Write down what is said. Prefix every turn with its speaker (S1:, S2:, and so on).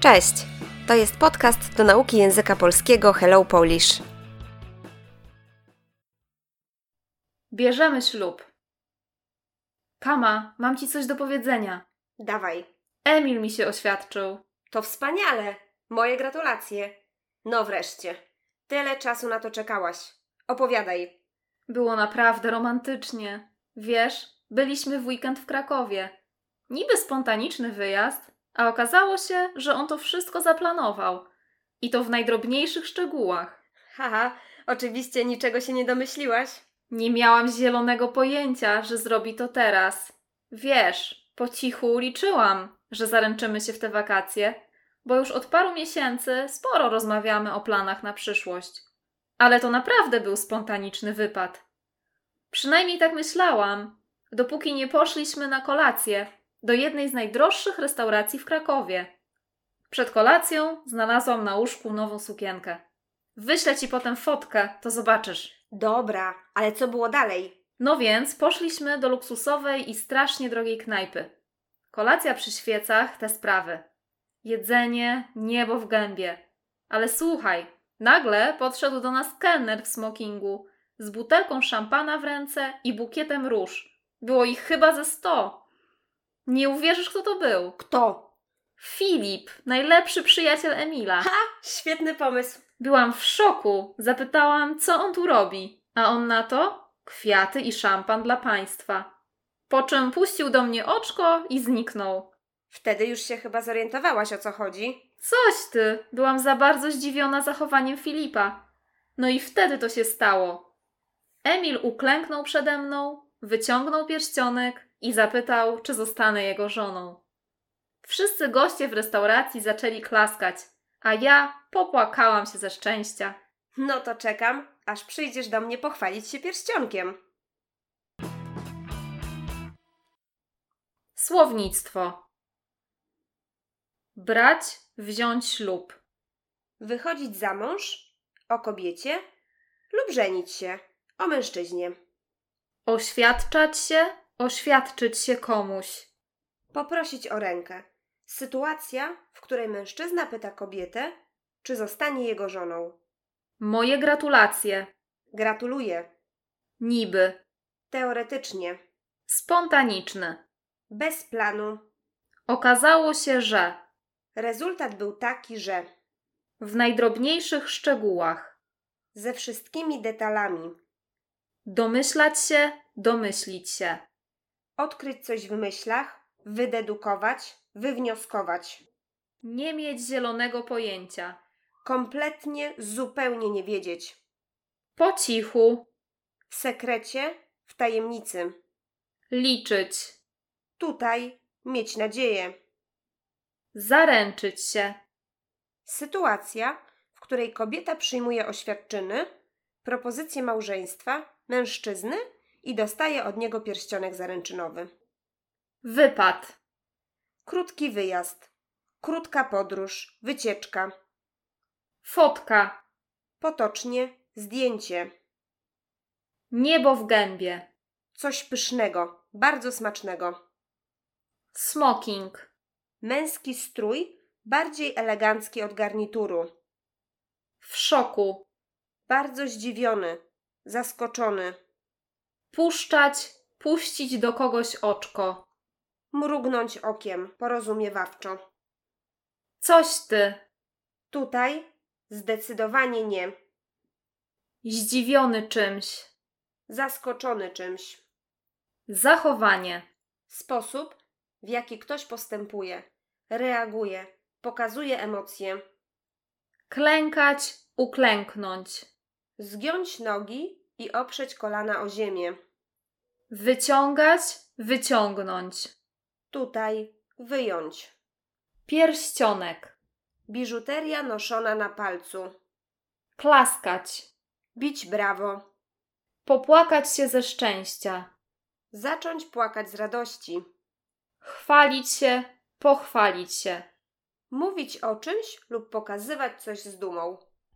S1: Cześć! To jest podcast do nauki języka polskiego Hello Polish.
S2: Bierzemy ślub. Kama, mam ci coś do powiedzenia.
S1: Dawaj,
S2: Emil mi się oświadczył.
S1: to wspaniale! Moje gratulacje! No wreszcie, tyle czasu na to czekałaś. Opowiadaj.
S2: Było naprawdę romantycznie. Wiesz, byliśmy w weekend w Krakowie. Niby spontaniczny wyjazd, a okazało się, że on to wszystko zaplanował. I to w najdrobniejszych szczegółach.
S1: Haha, oczywiście niczego się nie domyśliłaś.
S2: Nie miałam zielonego pojęcia, że zrobi to teraz. Wiesz, po cichu liczyłam, że zaręczymy się w te wakacje, bo już od paru miesięcy sporo rozmawiamy o planach na przyszłość. Ale to naprawdę był spontaniczny wypad. Przynajmniej tak myślałam, dopóki nie poszliśmy na kolację do jednej z najdroższych restauracji w Krakowie. Przed kolacją znalazłam na łóżku nową sukienkę. Wyślę ci potem fotkę, to zobaczysz.
S1: Dobra, ale co było dalej?
S2: No więc poszliśmy do luksusowej i strasznie drogiej knajpy. Kolacja przy świecach, te sprawy. Jedzenie, niebo w gębie. Ale słuchaj, nagle podszedł do nas kelner w smokingu z butelką szampana w ręce i bukietem róż. Było ich chyba ze sto. Nie uwierzysz, kto to był?
S1: Kto?
S2: Filip, najlepszy przyjaciel Emila.
S1: Świetny pomysł.
S2: Byłam w szoku. Zapytałam, co on tu robi. A on na to? Kwiaty i szampan dla państwa. Po czym puścił do mnie oczko i zniknął.
S1: Wtedy już się chyba zorientowałaś o co chodzi.
S2: Coś ty! Byłam za bardzo zdziwiona zachowaniem Filipa. No i wtedy to się stało. Emil uklęknął przede mną, wyciągnął pierścionek i zapytał, czy zostanę jego żoną. Wszyscy goście w restauracji zaczęli klaskać, a ja popłakałam się ze szczęścia.
S1: No to czekam, aż przyjdziesz do mnie pochwalić się pierścionkiem.
S2: Słownictwo. Brać, wziąć ślub.
S1: wychodzić za mąż, o kobiecie lub żenić się, o mężczyźnie.
S2: Oświadczać się, oświadczyć się komuś.
S1: Poprosić o rękę. Sytuacja, w której mężczyzna pyta kobietę, czy zostanie jego żoną.
S2: Moje gratulacje.
S1: Gratuluję.
S2: Niby.
S1: Teoretycznie.
S2: Spontaniczny.
S1: Bez planu.
S2: Okazało się, że
S1: Rezultat był taki, że
S2: w najdrobniejszych szczegółach.
S1: ze wszystkimi detalami.
S2: Domyślać się, domyślić się.
S1: Odkryć coś w myślach, wydedukować, wywnioskować.
S2: Nie mieć zielonego pojęcia.
S1: Kompletnie, zupełnie nie wiedzieć.
S2: Po cichu.
S1: W sekrecie, w tajemnicy.
S2: Liczyć.
S1: Tutaj mieć nadzieję.
S2: Zaręczyć się.
S1: Sytuacja, w której kobieta przyjmuje oświadczyny, propozycję małżeństwa mężczyzny i dostaje od niego pierścionek zaręczynowy.
S2: Wypad.
S1: Krótki wyjazd, krótka podróż, wycieczka,
S2: Fotka.
S1: potocznie zdjęcie,
S2: Niebo w gębie.
S1: coś pysznego, bardzo smacznego,
S2: Smoking.
S1: męski strój, bardziej elegancki od garnituru,
S2: W szoku.
S1: bardzo zdziwiony, zaskoczony,
S2: Puszczać, puścić do kogoś oczko.
S1: mrugnąć okiem porozumiewawczo.
S2: Coś ty.
S1: Tutaj zdecydowanie nie.
S2: Zdziwiony czymś.
S1: zaskoczony czymś.
S2: Zachowanie.
S1: Sposób, w jaki ktoś postępuje, reaguje, pokazuje emocje.
S2: Klękać, uklęknąć.
S1: Zgiąć nogi i oprzeć kolana o ziemię.
S2: Wyciągać, wyciągnąć.
S1: Tutaj wyjąć.
S2: Pierścionek.
S1: Biżuteria noszona na palcu.
S2: Klaskać.
S1: Bić brawo.
S2: Popłakać się ze szczęścia.
S1: Zacząć płakać z radości.
S2: Chwalić się, pochwalić się.
S1: Mówić o czymś lub pokazywać coś z dumą.